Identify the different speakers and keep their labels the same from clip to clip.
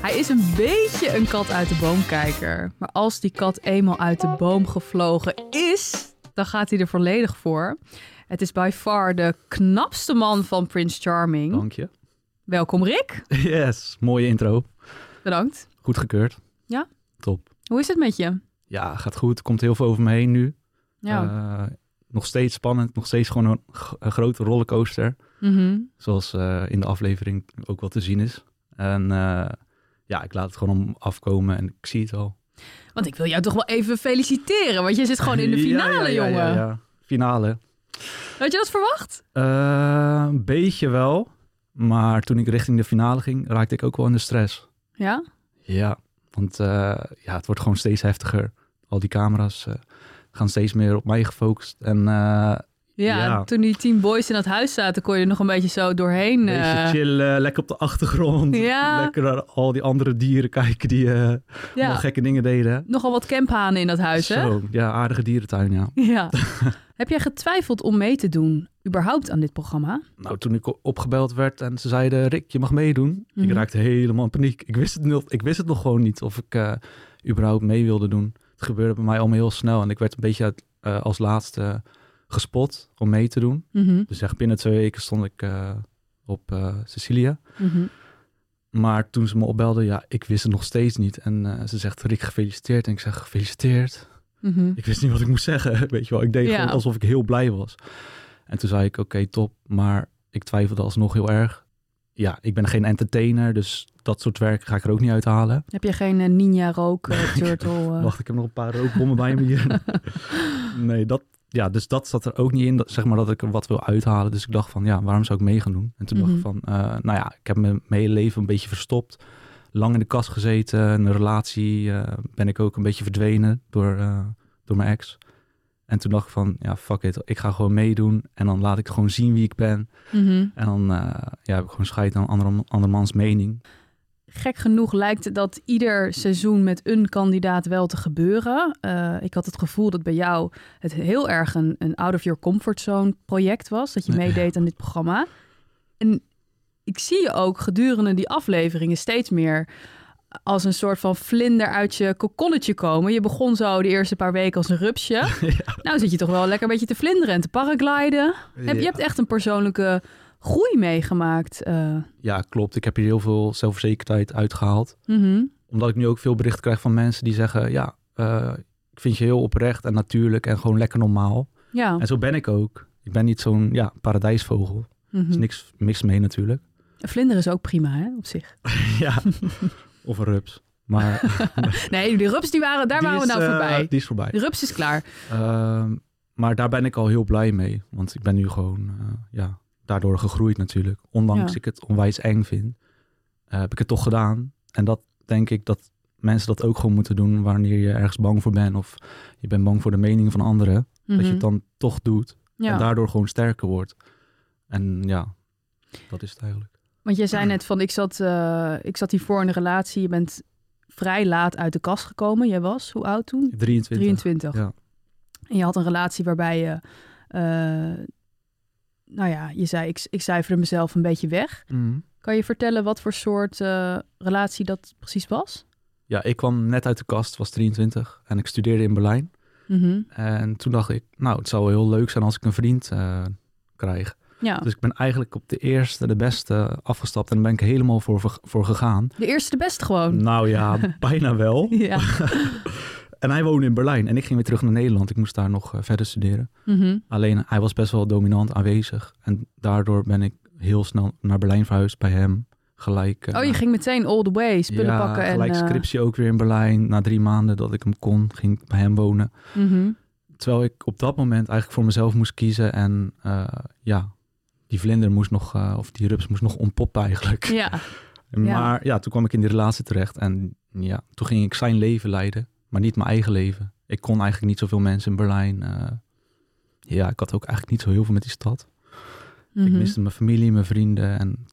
Speaker 1: Hij is een beetje een kat uit de boomkijker. Maar als die kat eenmaal uit de boom gevlogen is, dan gaat hij er volledig voor. Het is by far de knapste man van Prince Charming.
Speaker 2: Dank je.
Speaker 1: Welkom Rick.
Speaker 2: Yes, mooie intro.
Speaker 1: Bedankt.
Speaker 2: Goed gekeurd.
Speaker 1: Ja.
Speaker 2: Top.
Speaker 1: Hoe is het met je?
Speaker 2: Ja, gaat goed. Komt heel veel over me heen nu.
Speaker 1: Ja.
Speaker 2: Eh, nog steeds spannend. Nog steeds gewoon een, g- een grote rollercoaster.
Speaker 1: Mhm.
Speaker 2: Zoals eh, in de aflevering ook wel te zien is. En eh, ja, ik laat het gewoon om afkomen en ik zie het al.
Speaker 1: Want ik wil jou toch wel even feliciteren, want je zit gewoon in de
Speaker 2: Ja,
Speaker 1: finale,
Speaker 2: ja, ja,
Speaker 1: jongen.
Speaker 2: Ja, ja. Finale.
Speaker 1: Had je dat verwacht?
Speaker 2: Eh, een beetje wel. Maar toen ik richting de finale ging, raakte ik ook wel in de stress.
Speaker 1: Ja?
Speaker 2: Ja, want eh, ja, het wordt gewoon steeds heftiger. Al die camera's eh, gaan steeds meer op mij gefocust. En eh,
Speaker 1: ja?
Speaker 2: Ja.
Speaker 1: toen die tien boys in dat huis zaten, kon je er nog een beetje zo doorheen.
Speaker 2: een beetje
Speaker 1: eh,
Speaker 2: chillen, lekker op de achtergrond.
Speaker 1: Ja.
Speaker 2: Lekker naar al die andere dieren kijken die eh allemaal
Speaker 1: ja.
Speaker 2: gekke dingen deden.
Speaker 1: Nogal wat camphanen in dat huis, hè?
Speaker 2: Zo, ja, aardige dierentuin, ja.
Speaker 1: Ja. Heb jij getwijfeld om mee te doen, überhaupt aan dit programma?
Speaker 2: Nou, toen ik o- opgebeld werd en ze zeiden, Rick, je mag meedoen.
Speaker 1: Mhm.
Speaker 2: Ik raakte helemaal in paniek. Ik wist het, nog, ik wist het nog gewoon niet of ik eh, überhaupt mee wilde doen. Het gebeurde bij mij allemaal heel snel. En ik werd een beetje uit- eh, als laatste gespot om mee te doen.
Speaker 1: Mhm,
Speaker 2: Dus echt binnen twee weken stond ik eh, op eh, Sicilië.
Speaker 1: mhm.
Speaker 2: Maar toen ze me opbelden, ja, ik wist het nog steeds niet. En eh, ze zegt, Rick, gefeliciteerd. En ik zeg, gefeliciteerd.
Speaker 1: mhm.
Speaker 2: Ik wist niet wat ik moest zeggen, weet je wel. Ik deed
Speaker 1: Ja.
Speaker 2: gewoon alsof ik heel blij was. En toen zei ik, oké, top. Maar ik twijfelde alsnog heel erg. Ja, ik ben geen entertainer, dus dat soort werk ga ik er ook niet uithalen.
Speaker 1: Heb je geen eh, Ninja Rook eh, Turtle? eh?
Speaker 2: Wacht, ik heb nog een paar rookbommen bij me hier. Nee, dat, ja, dus dat zat er ook niet in, dat, zeg maar, dat ik er wat wil uithalen. Dus ik dacht van, ja, waarom zou ik mee gaan doen? En toen
Speaker 1: Mhm.
Speaker 2: dacht ik van, eh, nou ja, ik heb mijn, mijn hele leven een beetje verstopt. Lang in de kast gezeten, in een relatie eh, ben ik ook een beetje verdwenen door, eh, door mijn ex. En toen dacht ik van, ja, fuck it, ik ga gewoon meedoen. En dan laat ik gewoon zien wie ik ben.
Speaker 1: Mhm.
Speaker 2: En dan eh, ja, heb ik gewoon scheid aan andere, andermans mening.
Speaker 1: Gek genoeg lijkt het dat ieder seizoen met een kandidaat wel te gebeuren. Eh, ik had het gevoel dat bij jou het heel erg een, een out of your comfort zone project was. Dat je
Speaker 2: Ja.
Speaker 1: meedeed aan dit programma. En ik zie je ook gedurende die afleveringen steeds meer als een soort van vlinder uit je kokonnetje komen. Je begon zo de eerste paar weken als een rupsje. Nou zit je toch wel lekker een beetje te vlinderen en te paragliden. Heb, Je hebt echt een persoonlijke groei meegemaakt. eh.
Speaker 2: Ja, klopt. Ik heb hier heel veel zelfverzekerdheid uitgehaald.
Speaker 1: Mhm.
Speaker 2: omdat ik nu ook veel berichten krijg van mensen die zeggen: Ja, eh, ik vind je heel oprecht en natuurlijk en gewoon lekker normaal.
Speaker 1: Ja.
Speaker 2: En zo ben ik ook. Ik ben niet zo'n ja, paradijsvogel. Er is
Speaker 1: Mhm.
Speaker 2: niks mis mee natuurlijk.
Speaker 1: Een Vlinder is ook prima, hè, op zich.
Speaker 2: ja, of een rups. Maar
Speaker 1: Nee, die rups, die waren, daar
Speaker 2: die
Speaker 1: waren we
Speaker 2: is,
Speaker 1: nou
Speaker 2: eh,
Speaker 1: voorbij.
Speaker 2: die is voorbij.
Speaker 1: De rups is klaar.
Speaker 2: Ehm, maar daar ben ik al heel blij mee. Want ik ben nu gewoon eh, ja, daardoor gegroeid natuurlijk. Ondanks
Speaker 1: Ja.
Speaker 2: ik het onwijs eng vind, eh, heb ik het toch gedaan. En dat denk ik dat mensen dat ook gewoon moeten doen wanneer je ergens bang voor bent. Of je bent bang voor de mening van anderen. Dat je het
Speaker 1: Mhm.
Speaker 2: dan toch doet.
Speaker 1: ja.
Speaker 2: En daardoor gewoon sterker wordt. En ja, dat is het eigenlijk.
Speaker 1: Want jij zei net van, ik zat, eh ik zat hiervoor in een relatie. Je bent vrij laat uit de kast gekomen. Jij was, hoe oud toen?
Speaker 2: 23.
Speaker 1: 23.
Speaker 2: Ja.
Speaker 1: En je had een relatie waarbij je... eh, nou ja, je zei, ik, ik cijferde mezelf een beetje weg.
Speaker 2: Mhm.
Speaker 1: Kan je vertellen wat voor soort eh, relatie dat precies was?
Speaker 2: Ja, ik kwam net uit de kast, was 23. En ik studeerde in Berlijn.
Speaker 1: Mhm.
Speaker 2: En toen dacht ik, nou, het zou heel leuk zijn als ik een vriend eh, krijg.
Speaker 1: Ja,
Speaker 2: Dus ik ben eigenlijk op de eerste, de beste afgestapt. En daar ben ik helemaal voor, ver- voor gegaan.
Speaker 1: de eerste de beste gewoon.
Speaker 2: Nou ja, bijna wel.
Speaker 1: Ja.
Speaker 2: En hij woonde in Berlijn. En ik ging weer terug naar Nederland. Ik moest daar nog eh, verder studeren.
Speaker 1: Mhm.
Speaker 2: Alleen hij was best wel dominant aanwezig. En daardoor ben ik heel snel naar Berlijn verhuisd bij hem. Gelijk. eh,
Speaker 1: Oh, je ging meteen all the way spullen
Speaker 2: ja,
Speaker 1: pakken. en,
Speaker 2: Gelijk
Speaker 1: eh,
Speaker 2: scriptie ook weer in Berlijn. Na drie maanden dat ik hem kon, ging ik bij hem wonen.
Speaker 1: mhm.
Speaker 2: Terwijl ik op dat moment eigenlijk voor mezelf moest kiezen. En eh, ja, die vlinder moest nog, eh, of die rups moest nog ontpoppen eigenlijk.
Speaker 1: Ja,
Speaker 2: Maar ja, toen kwam ik in die relatie terecht. En ja, toen ging ik zijn leven leiden, maar niet mijn eigen leven. Ik kon eigenlijk niet zoveel mensen in Berlijn. eh, ja, ik had ook eigenlijk niet zo heel veel met die stad.
Speaker 1: mhm.
Speaker 2: Ik miste mijn familie, mijn vrienden. En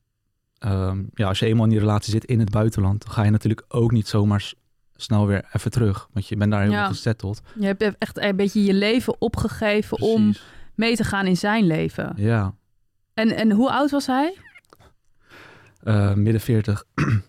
Speaker 2: ehm, ja, als je eenmaal in die relatie zit in het buitenland, dan ga je natuurlijk ook niet zomaar s- snel weer even terug. Want je bent daar helemaal
Speaker 1: Ja.
Speaker 2: gezetteld.
Speaker 1: je hebt echt een beetje je leven opgegeven om
Speaker 2: Precies.
Speaker 1: mee te gaan in zijn leven.
Speaker 2: Ja.
Speaker 1: En, en hoe oud was hij?
Speaker 2: eh, midden 40,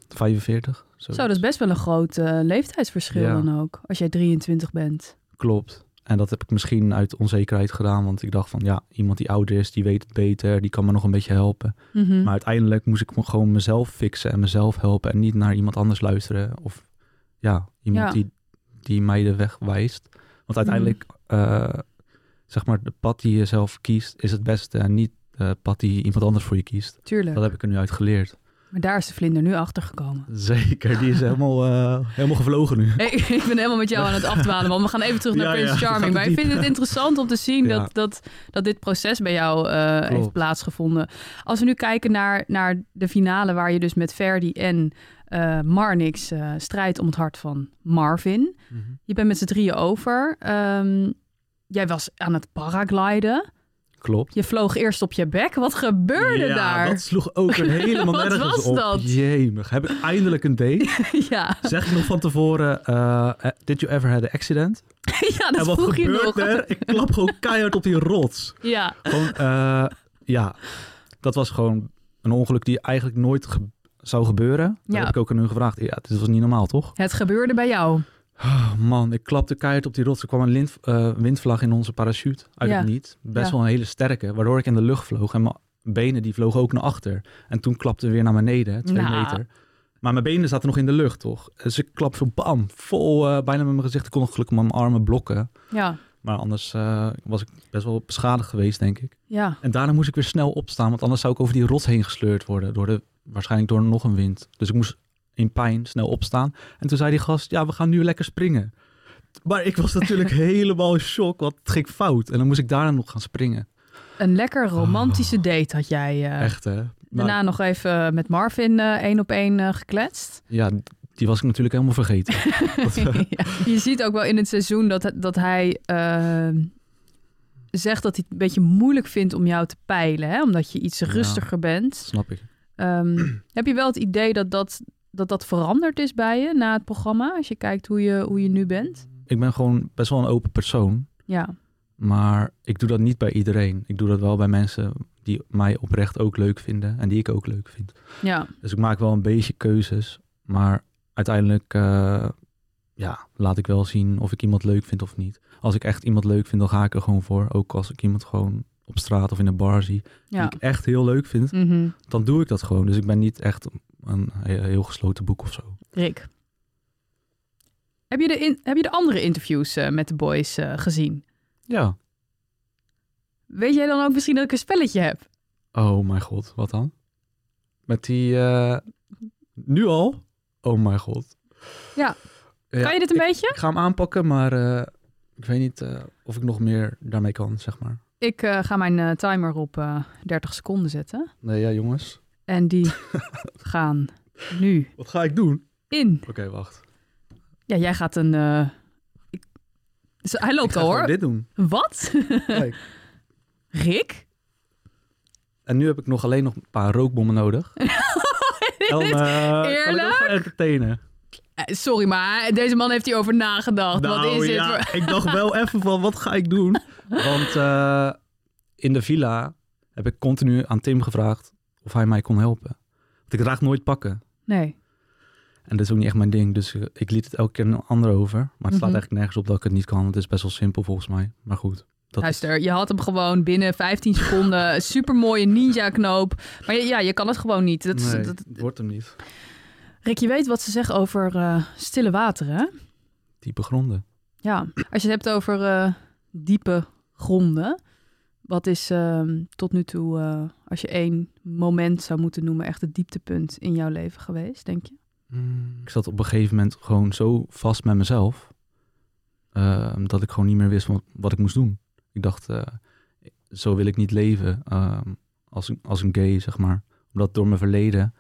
Speaker 2: 45. Zo,
Speaker 1: Zo, dat is best wel een groot eh, leeftijdsverschil
Speaker 2: Ja.
Speaker 1: dan ook. Als jij 23 bent.
Speaker 2: Klopt. En dat heb ik misschien uit onzekerheid gedaan, want ik dacht van ja, iemand die ouder is, die weet het beter, die kan me nog een beetje helpen.
Speaker 1: Mhm.
Speaker 2: Maar uiteindelijk moest ik me gewoon mezelf fixen en mezelf helpen en niet naar iemand anders luisteren. Of ja, iemand
Speaker 1: Ja.
Speaker 2: Die, die mij de weg wijst. Want uiteindelijk,
Speaker 1: Mhm.
Speaker 2: eh, zeg maar, de pad die je zelf kiest is het beste en niet de pad die iemand anders voor je kiest.
Speaker 1: Tuurlijk.
Speaker 2: Dat heb ik er nu uit geleerd.
Speaker 1: Maar daar is de vlinder nu achter gekomen.
Speaker 2: Zeker, die is helemaal, eh, helemaal gevlogen nu.
Speaker 1: Hey, ik ben helemaal met jou aan het afdwalen, want we gaan even terug naar
Speaker 2: Ja, ja,
Speaker 1: Prince
Speaker 2: we gaan
Speaker 1: Charming.
Speaker 2: te
Speaker 1: Maar ik
Speaker 2: diep.
Speaker 1: vind het interessant om te zien
Speaker 2: Ja.
Speaker 1: dat, dat, dat dit proces bij jou eh, heeft
Speaker 2: Klopt.
Speaker 1: plaatsgevonden. Als we nu kijken naar, naar de finale waar je dus met Verdi en eh, Marnix eh, strijdt om het hart van Marvin. Je bent met z'n drieën over. Ehm, jij was aan het paragliden.
Speaker 2: Klopt.
Speaker 1: Je vloog eerst op je bek. Wat gebeurde
Speaker 2: ja,
Speaker 1: daar?
Speaker 2: dat sloeg ook weer helemaal
Speaker 1: Wat
Speaker 2: nergens
Speaker 1: was
Speaker 2: op.
Speaker 1: dat?
Speaker 2: Jemig, heb ik eindelijk een date?
Speaker 1: ja.
Speaker 2: Zeg je nog van tevoren, eh, eh, did you ever had an accident?
Speaker 1: ja, dat
Speaker 2: en wat
Speaker 1: vroeg je
Speaker 2: gebeurt
Speaker 1: nog.
Speaker 2: er? Ik klap gewoon keihard op die rots.
Speaker 1: Ja.
Speaker 2: Gewoon, eh, ja, dat was gewoon een ongeluk die eigenlijk nooit ge- zou gebeuren. Dat
Speaker 1: Ja.
Speaker 2: heb ik ook aan hun gevraagd. Ja, dit was niet normaal, toch?
Speaker 1: Het gebeurde bij jou.
Speaker 2: Oh, man, ik klapte keihard op die rots. Er kwam een lint- eh, windvlag in onze parachute uit
Speaker 1: Ja.
Speaker 2: het niet. Best
Speaker 1: Ja.
Speaker 2: wel een hele sterke, waardoor ik in de lucht vloog. En mijn benen die vlogen ook naar achter. En toen klapte weer naar beneden, twee
Speaker 1: Nou.
Speaker 2: meter. Maar mijn benen zaten nog in de lucht, toch? Dus ik klap zo bam, vol eh, bijna met mijn gezicht. Ik kon nog gelukkig mijn armen blokken.
Speaker 1: Ja.
Speaker 2: Maar anders eh, was ik best wel beschadigd geweest, denk ik.
Speaker 1: Ja.
Speaker 2: En daarna moest ik weer snel opstaan, want anders zou ik over die rots heen gesleurd worden. Door de, waarschijnlijk door nog een wind. Dus ik moest in pijn snel opstaan. En toen zei die gast, ja, we gaan nu lekker springen. Maar ik was natuurlijk helemaal in shock, want het ging fout. En dan moest ik daarna nog gaan springen.
Speaker 1: Een lekker romantische date had jij. eh,
Speaker 2: Echt, hè? Maar-
Speaker 1: Daarna nog even met Marvin eh, één op één eh, gekletst.
Speaker 2: ja, die was ik natuurlijk helemaal vergeten.
Speaker 1: Ja. Je ziet ook wel in het seizoen dat, dat hij eh, zegt dat hij het een beetje moeilijk vindt om jou te peilen. Hè? Omdat je iets
Speaker 2: Ja.
Speaker 1: rustiger bent.
Speaker 2: Snap ik.
Speaker 1: Ehm, heb je wel het idee dat dat, dat dat veranderd is bij je na het programma? Als je kijkt hoe je, hoe je nu bent?
Speaker 2: Ik ben gewoon best wel een open persoon.
Speaker 1: Ja,
Speaker 2: Maar ik doe dat niet bij iedereen. Ik doe dat wel bij mensen die mij oprecht ook leuk vinden. En die ik ook leuk vind.
Speaker 1: ja.
Speaker 2: Dus ik maak wel een beetje keuzes. Maar uiteindelijk eh, ja, laat ik wel zien of ik iemand leuk vind of niet. Als ik echt iemand leuk vind, dan ga ik er gewoon voor. Ook als ik iemand gewoon op straat of in een bar zie
Speaker 1: ja.
Speaker 2: die ik echt heel leuk vind,
Speaker 1: Mhm.
Speaker 2: dan doe ik dat gewoon. Dus ik ben niet echt een he- heel gesloten boek of zo.
Speaker 1: Rick. Heb je de, in, heb je de andere interviews eh, met de boys eh, gezien?
Speaker 2: Ja.
Speaker 1: Weet jij dan ook misschien dat ik een spelletje heb?
Speaker 2: Oh mijn god, wat dan? Met die... eh, nu al? Oh mijn god.
Speaker 1: Ja.
Speaker 2: Ja,
Speaker 1: kan je dit een
Speaker 2: ik,
Speaker 1: beetje?
Speaker 2: ik ga hem aanpakken, maar eh, ik weet niet eh, of ik nog meer daarmee kan, zeg maar.
Speaker 1: Ik eh, ga mijn eh, timer op eh 30 seconden zetten.
Speaker 2: Nee, ja jongens.
Speaker 1: En die gaan nu
Speaker 2: Wat ga ik doen?
Speaker 1: in.
Speaker 2: Oké, wacht.
Speaker 1: Ja, jij gaat een... eh, ik- Ze- Hij
Speaker 2: Ik
Speaker 1: loopt
Speaker 2: ga
Speaker 1: al
Speaker 2: gewoon
Speaker 1: hoor.
Speaker 2: dit doen.
Speaker 1: Wat?
Speaker 2: Kijk.
Speaker 1: Rick?
Speaker 2: En nu heb ik nog alleen nog een paar rookbommen nodig. Dan, eh, kan ik
Speaker 1: eerlijk?
Speaker 2: ook gaan entertainen.
Speaker 1: Eh, Sorry, maar deze man heeft hierover nagedacht. Wat is dit? voor-
Speaker 2: Nou ik dacht wel even van, wat ga ik doen? Want eh, in de villa heb ik continu aan Tim gevraagd of hij mij kon helpen. Want ik draag nooit pakken.
Speaker 1: Nee.
Speaker 2: En dat is ook niet echt mijn ding, dus eh, ik liet het elke keer een ander over. Maar het slaat
Speaker 1: Mhm.
Speaker 2: eigenlijk nergens op dat ik het niet kan, want het is best wel simpel volgens mij. Maar goed. Dat is-
Speaker 1: Luister, je had hem gewoon binnen 15 seconden. Supermooie ninja-knoop. Maar ja, je kan het gewoon niet. Dat, is-
Speaker 2: nee,
Speaker 1: dat-
Speaker 2: het wordt hem niet.
Speaker 1: Rick, je weet wat ze zeggen over eh, stille wateren, hè?
Speaker 2: Diepe gronden.
Speaker 1: Ja, als je het hebt over eh, diepe gronden. Wat is ehm, tot nu toe, eh, als je één moment zou moeten noemen, echt het dieptepunt in jouw leven geweest, denk je?
Speaker 2: Ik zat op een gegeven moment gewoon zo vast met mezelf. eh, dat ik gewoon niet meer wist wat, wat ik moest doen. Ik dacht, eh, zo wil ik niet leven eh, als, een, als een gay, zeg maar. Omdat door mijn verleden,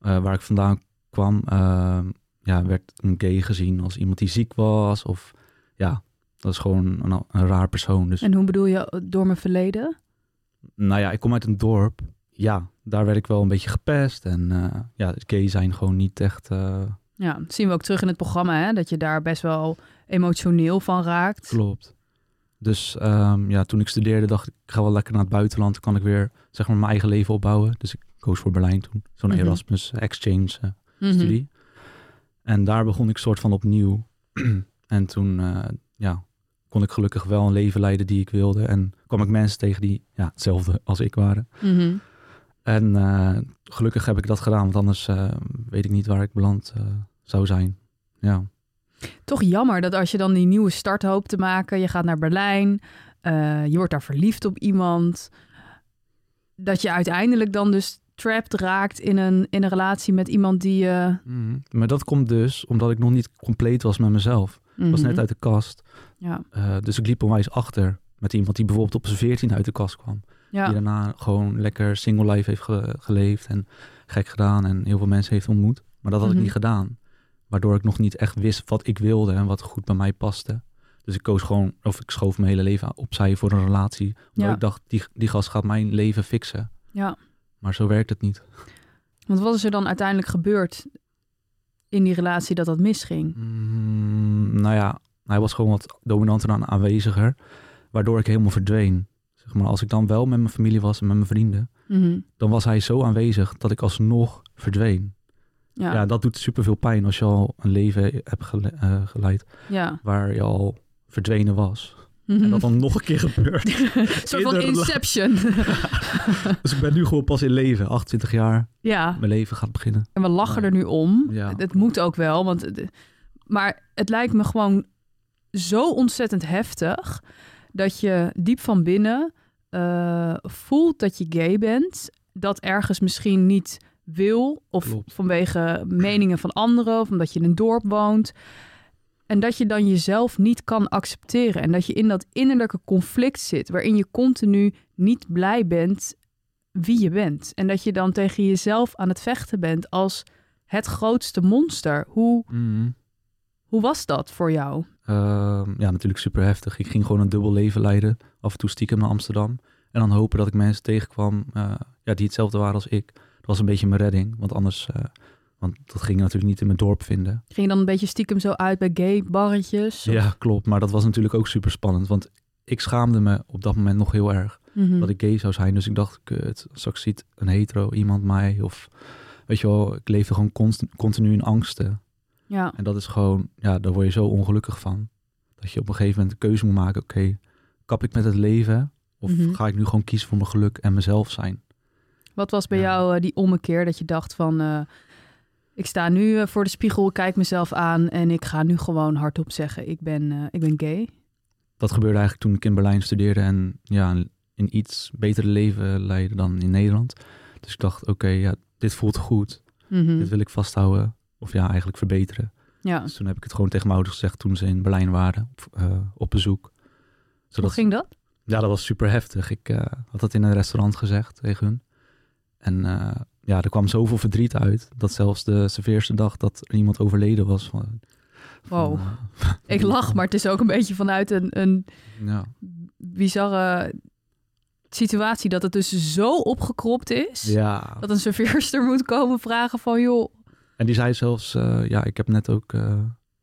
Speaker 2: eh, waar ik vandaan kwam, eh, ja, werd een gay gezien als iemand die ziek was. Of ja, dat is gewoon een, een raar persoon. Dus
Speaker 1: En hoe bedoel je eh, door mijn verleden?
Speaker 2: nou ja, ik kom uit een dorp. Ja, daar werd ik wel een beetje gepest. En eh, ja, gay zijn gewoon niet echt... eh,
Speaker 1: Ja, dat zien we ook terug in het programma, hè? Dat je daar best wel emotioneel van raakt.
Speaker 2: Klopt. Dus ehm, ja, toen ik studeerde dacht ik, ik ga wel lekker naar het buitenland. Dan kan ik weer zeg maar, mijn eigen leven opbouwen. Dus ik koos voor Berlijn toen. Zo'n
Speaker 1: Mhm.
Speaker 2: Erasmus exchange eh,
Speaker 1: Mhm.
Speaker 2: studie. En daar begon ik soort van opnieuw. en toen eh, ja, kon ik gelukkig wel een leven leiden die ik wilde. En kwam ik mensen tegen die ja, hetzelfde als ik waren.
Speaker 1: Mhm.
Speaker 2: En eh, gelukkig heb ik dat gedaan, want anders eh, weet ik niet waar ik beland eh, zou zijn. Ja.
Speaker 1: Toch jammer dat als je dan die nieuwe start hoopt te maken, je gaat naar Berlijn, eh, je wordt daar verliefd op iemand, dat je uiteindelijk dan dus trapped raakt in een, in een relatie met iemand die eh, je...
Speaker 2: Maar dat komt dus omdat ik nog niet compleet was met mezelf. Ik was net
Speaker 1: Mhm.
Speaker 2: uit de kast.
Speaker 1: Ja,
Speaker 2: Eh, dus ik liep onwijs achter met iemand die bijvoorbeeld op zijn veertien uit de kast kwam.
Speaker 1: ja.
Speaker 2: Die daarna gewoon lekker single life heeft ge- geleefd en gek gedaan en heel veel mensen heeft ontmoet. Maar dat had
Speaker 1: Mhm.
Speaker 2: ik niet gedaan. Waardoor ik nog niet echt wist wat ik wilde en wat goed bij mij paste. Dus ik koos gewoon, of ik schoof mijn hele leven opzij voor een relatie. Omdat
Speaker 1: Ja.
Speaker 2: nou, ik dacht, die, die gast gaat mijn leven fixen.
Speaker 1: Ja.
Speaker 2: Maar zo werkt het niet.
Speaker 1: Want wat is er dan uiteindelijk gebeurd in die relatie dat dat misging?
Speaker 2: Mm, nou ja, hij was gewoon wat dominanter en aanweziger. Waardoor ik helemaal verdween. Zeg maar, als ik dan wel met mijn familie was en met mijn vrienden.
Speaker 1: Mhm.
Speaker 2: Dan was hij zo aanwezig dat ik alsnog verdween.
Speaker 1: Ja,
Speaker 2: Ja,
Speaker 1: ja.
Speaker 2: dat doet superveel pijn als je al een leven hebt gele- eh, geleid waar je al verdwenen was.
Speaker 1: Mhm.
Speaker 2: En dat dan nog een keer gebeurt.
Speaker 1: Een soort van
Speaker 2: in de
Speaker 1: inception.
Speaker 2: Dus ik ben nu gewoon pas in leven, 28 jaar.
Speaker 1: ja,
Speaker 2: Mijn leven gaat beginnen.
Speaker 1: en we lachen er nu om.
Speaker 2: Ja.
Speaker 1: Het moet ook wel, want... het- Maar het lijkt me gewoon zo ontzettend heftig... dat je diep van binnen eh, voelt dat je gay bent... dat ergens misschien niet wil... of
Speaker 2: Klopt.
Speaker 1: vanwege meningen van anderen... of omdat je in een dorp woont... En dat je dan jezelf niet kan accepteren. En dat je in dat innerlijke conflict zit. Waarin je continu niet blij bent wie je bent. En dat je dan tegen jezelf aan het vechten bent als het grootste monster. Hoe,
Speaker 2: Mhm.
Speaker 1: hoe was dat voor jou?
Speaker 2: Ehm, ja, natuurlijk super heftig. Ik ging gewoon een dubbel leven leiden. Af en toe stiekem naar Amsterdam. En dan hopen dat ik mensen tegenkwam eh, ja, die hetzelfde waren als ik. Dat was een beetje mijn redding. Want anders, eh, want dat ging ik natuurlijk niet in mijn dorp vinden.
Speaker 1: Ging je dan een beetje stiekem zo uit bij gay barretjes?
Speaker 2: Ja, klopt. Maar dat was natuurlijk ook super spannend. Want ik schaamde me op dat moment nog heel erg.
Speaker 1: Mhm.
Speaker 2: dat ik gay zou zijn. Dus ik dacht, kut, straks ziet een hetero iemand mij. Of weet je wel, ik leefde gewoon constant, continu in angsten.
Speaker 1: ja.
Speaker 2: En dat is gewoon, ja, daar word je zo ongelukkig van. Dat je op een gegeven moment de keuze moet maken. Oké, kap ik met het leven? Of
Speaker 1: Mhm.
Speaker 2: ga ik nu gewoon kiezen voor mijn geluk en mezelf zijn?
Speaker 1: Wat was bij
Speaker 2: Ja.
Speaker 1: jou eh, die ommekeer dat je dacht van... eh, ik sta nu eh, voor de spiegel, kijk mezelf aan... en ik ga nu gewoon hardop zeggen, ik ben, eh, ik ben gay.
Speaker 2: Dat gebeurde eigenlijk toen ik in Berlijn studeerde. En ja, een- een iets betere leven leidde dan in Nederland. Dus ik dacht, oké, ja, dit voelt goed.
Speaker 1: Mhm.
Speaker 2: Dit wil ik vasthouden. Of ja, eigenlijk verbeteren.
Speaker 1: Ja.
Speaker 2: Dus toen heb ik het gewoon tegen mijn ouders gezegd toen ze in Berlijn waren op, eh, op bezoek.
Speaker 1: Hoe
Speaker 2: Zodat,
Speaker 1: ging dat?
Speaker 2: Ja, dat was super heftig. Ik eh, had dat in een restaurant gezegd tegen hun. En eh, ja, er kwam zoveel verdriet uit dat zelfs de serveerste dag dat er iemand overleden was. Van, van,
Speaker 1: Wow.
Speaker 2: eh,
Speaker 1: Ik lach, maar het is ook een beetje vanuit een, een
Speaker 2: ja,
Speaker 1: bizarre situatie dat het dus zo opgekropt is.
Speaker 2: ja.
Speaker 1: Dat een serveerster moet komen vragen van joh.
Speaker 2: En die zei zelfs, eh, ja, ik heb net ook eh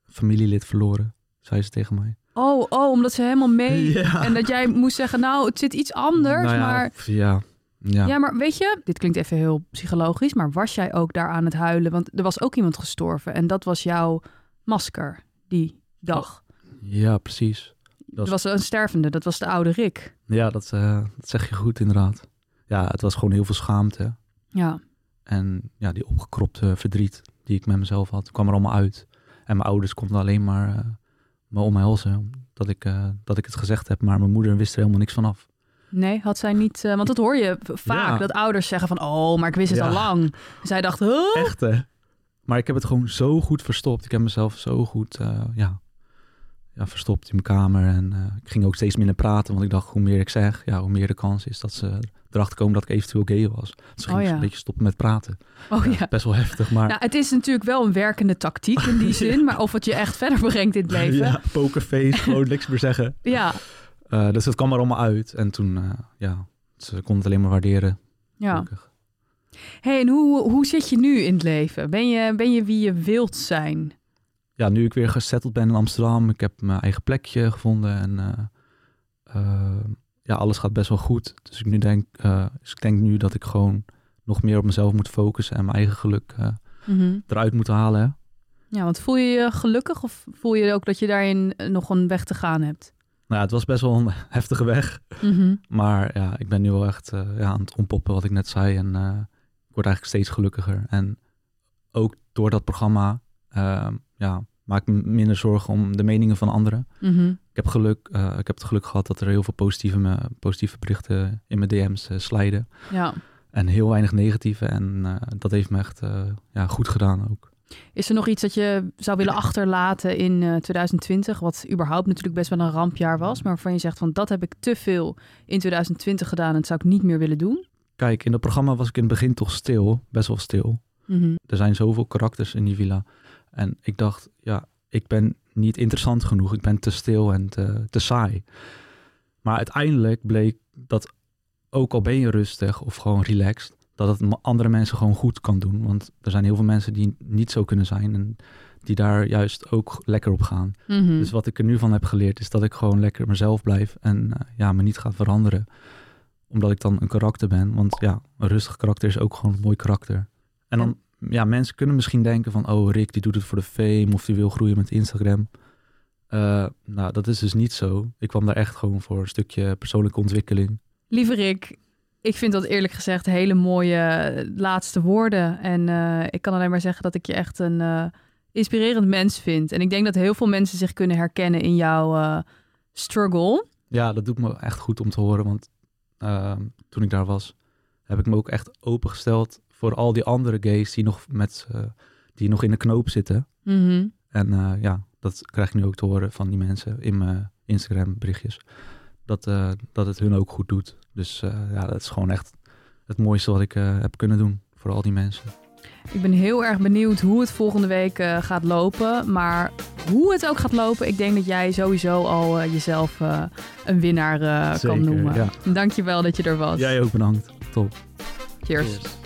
Speaker 2: familielid verloren, zei ze tegen mij.
Speaker 1: Oh, oh, omdat ze helemaal mee.
Speaker 2: Ja.
Speaker 1: En dat jij moest zeggen, nou, het zit iets anders.
Speaker 2: Nou ja,
Speaker 1: maar
Speaker 2: of- Ja, ja.
Speaker 1: ja, maar weet je, dit klinkt even heel psychologisch, maar was jij ook daar aan het huilen? Want er was ook iemand gestorven en dat was jouw masker die dag.
Speaker 2: ja precies. Oh, dat
Speaker 1: Er
Speaker 2: is-
Speaker 1: was een stervende, dat was de oude Rick.
Speaker 2: Ja, dat, eh, dat zeg je goed inderdaad. Ja, het was gewoon heel veel schaamte.
Speaker 1: Ja,
Speaker 2: En ja, die opgekropte verdriet die ik met mezelf had, kwam er allemaal uit. En mijn ouders konden alleen maar eh, me omhelzen dat ik, eh, dat ik het gezegd heb. Maar mijn moeder wist er helemaal niks van af.
Speaker 1: nee, had zij niet. eh, want dat hoor je v- vaak,
Speaker 2: Ja.
Speaker 1: dat ouders zeggen van, oh, maar ik wist het
Speaker 2: Ja.
Speaker 1: al lang. Zij dacht, huh?
Speaker 2: Echt hè? Maar ik heb het gewoon zo goed verstopt. Ik heb mezelf zo goed eh, ja, ja, verstopt in mijn kamer. En eh, ik ging ook steeds minder praten, want ik dacht, hoe meer ik zeg, ja, hoe meer de kans is dat ze erachter komen dat ik eventueel gay was. Dus ging
Speaker 1: Oh,
Speaker 2: ik
Speaker 1: ja.
Speaker 2: een beetje stoppen met praten.
Speaker 1: oh ja.
Speaker 2: Best wel heftig, maar...
Speaker 1: Nou, het is natuurlijk wel een werkende tactiek in die zin, maar of het je echt verder brengt in het leven. Ja.
Speaker 2: Ja, pokerface, gewoon niks meer zeggen.
Speaker 1: ja,
Speaker 2: Eh, dus dat kwam er allemaal uit. En toen, eh, ja, ze kon het alleen maar waarderen. gelukkig.
Speaker 1: Hey, en hoe, hoe zit je nu in het leven? Ben je, ben je wie je wilt zijn?
Speaker 2: Ja, nu ik weer gesetteld ben in Amsterdam, ik heb mijn eigen plekje gevonden en eh, eh, ja, alles gaat best wel goed. Dus ik, nu denk, eh, dus ik denk nu dat ik gewoon nog meer op mezelf moet focussen en mijn eigen geluk eh,
Speaker 1: Mhm.
Speaker 2: eruit moet halen. Hè?
Speaker 1: Ja, want voel je je gelukkig of voel je ook dat je daarin eh, nog een weg te gaan hebt?
Speaker 2: Nou, ja, het was best wel een heftige weg.
Speaker 1: Mhm.
Speaker 2: Maar ja, ik ben nu wel echt eh, ja, aan het ontpoppen wat ik net zei. En eh, ik word eigenlijk steeds gelukkiger. En ook door dat programma eh, ja, maak ik me minder zorgen om de meningen van anderen.
Speaker 1: Mhm.
Speaker 2: Ik heb, geluk, eh, ik heb het geluk gehad dat er heel veel positieve, me- positieve berichten in mijn DM's eh, slijden.
Speaker 1: Ja.
Speaker 2: En heel weinig negatieve. En eh, dat heeft me echt eh, ja, goed gedaan ook.
Speaker 1: Is er nog iets dat je zou willen achterlaten in eh, 2020? Wat überhaupt natuurlijk best wel een rampjaar was. Maar waarvan je zegt van dat heb ik te veel in 2020 gedaan. En dat zou ik niet meer willen doen.
Speaker 2: Kijk, in dat programma was ik in het begin toch stil. Best wel stil.
Speaker 1: Mhm.
Speaker 2: er zijn zoveel karakters in die villa. En ik dacht, ja, ik ben niet interessant genoeg. Ik ben te stil en te, te saai. Maar uiteindelijk bleek dat ook al ben je rustig of gewoon relaxed, dat het ma- andere mensen gewoon goed kan doen. Want er zijn heel veel mensen die niet zo kunnen zijn en die daar juist ook lekker op gaan.
Speaker 1: Mhm.
Speaker 2: Dus wat ik er nu van heb geleerd is dat ik gewoon lekker mezelf blijf en eh, ja, me niet ga veranderen. Omdat ik dan een karakter ben. Want ja, een rustig karakter is ook gewoon een mooi karakter. En dan, ja, mensen kunnen misschien denken van, oh Rick, die doet het voor de fame of die wil groeien met Instagram. Eh, nou, dat is dus niet zo. Ik kwam daar echt gewoon voor een stukje persoonlijke ontwikkeling.
Speaker 1: Lieve Rick, ik vind dat eerlijk gezegd hele mooie eh, laatste woorden. En eh, ik kan alleen maar zeggen dat ik je echt een eh, inspirerend mens vind. En ik denk dat heel veel mensen zich kunnen herkennen in jouw eh, struggle.
Speaker 2: Ja, dat doet me echt goed om te horen, want eh, toen ik daar was, heb ik me ook echt opengesteld voor al die andere gays die nog, met, eh, die nog in de knoop zitten.
Speaker 1: Mhm.
Speaker 2: En eh, ja, dat krijg ik nu ook te horen van die mensen in mijn Instagram berichtjes. Dat, eh, dat het hun ook goed doet. Dus eh, ja, dat is gewoon echt het mooiste wat ik eh, heb kunnen doen voor al die mensen.
Speaker 1: Ik ben heel erg benieuwd hoe het volgende week eh, gaat lopen. Maar hoe het ook gaat lopen, ik denk dat jij sowieso al eh, jezelf eh, een winnaar eh,
Speaker 2: Zeker,
Speaker 1: kan noemen.
Speaker 2: ja.
Speaker 1: Dankjewel dat je er was.
Speaker 2: Jij ook bedankt. Top.
Speaker 1: Cheers.
Speaker 2: Cheers.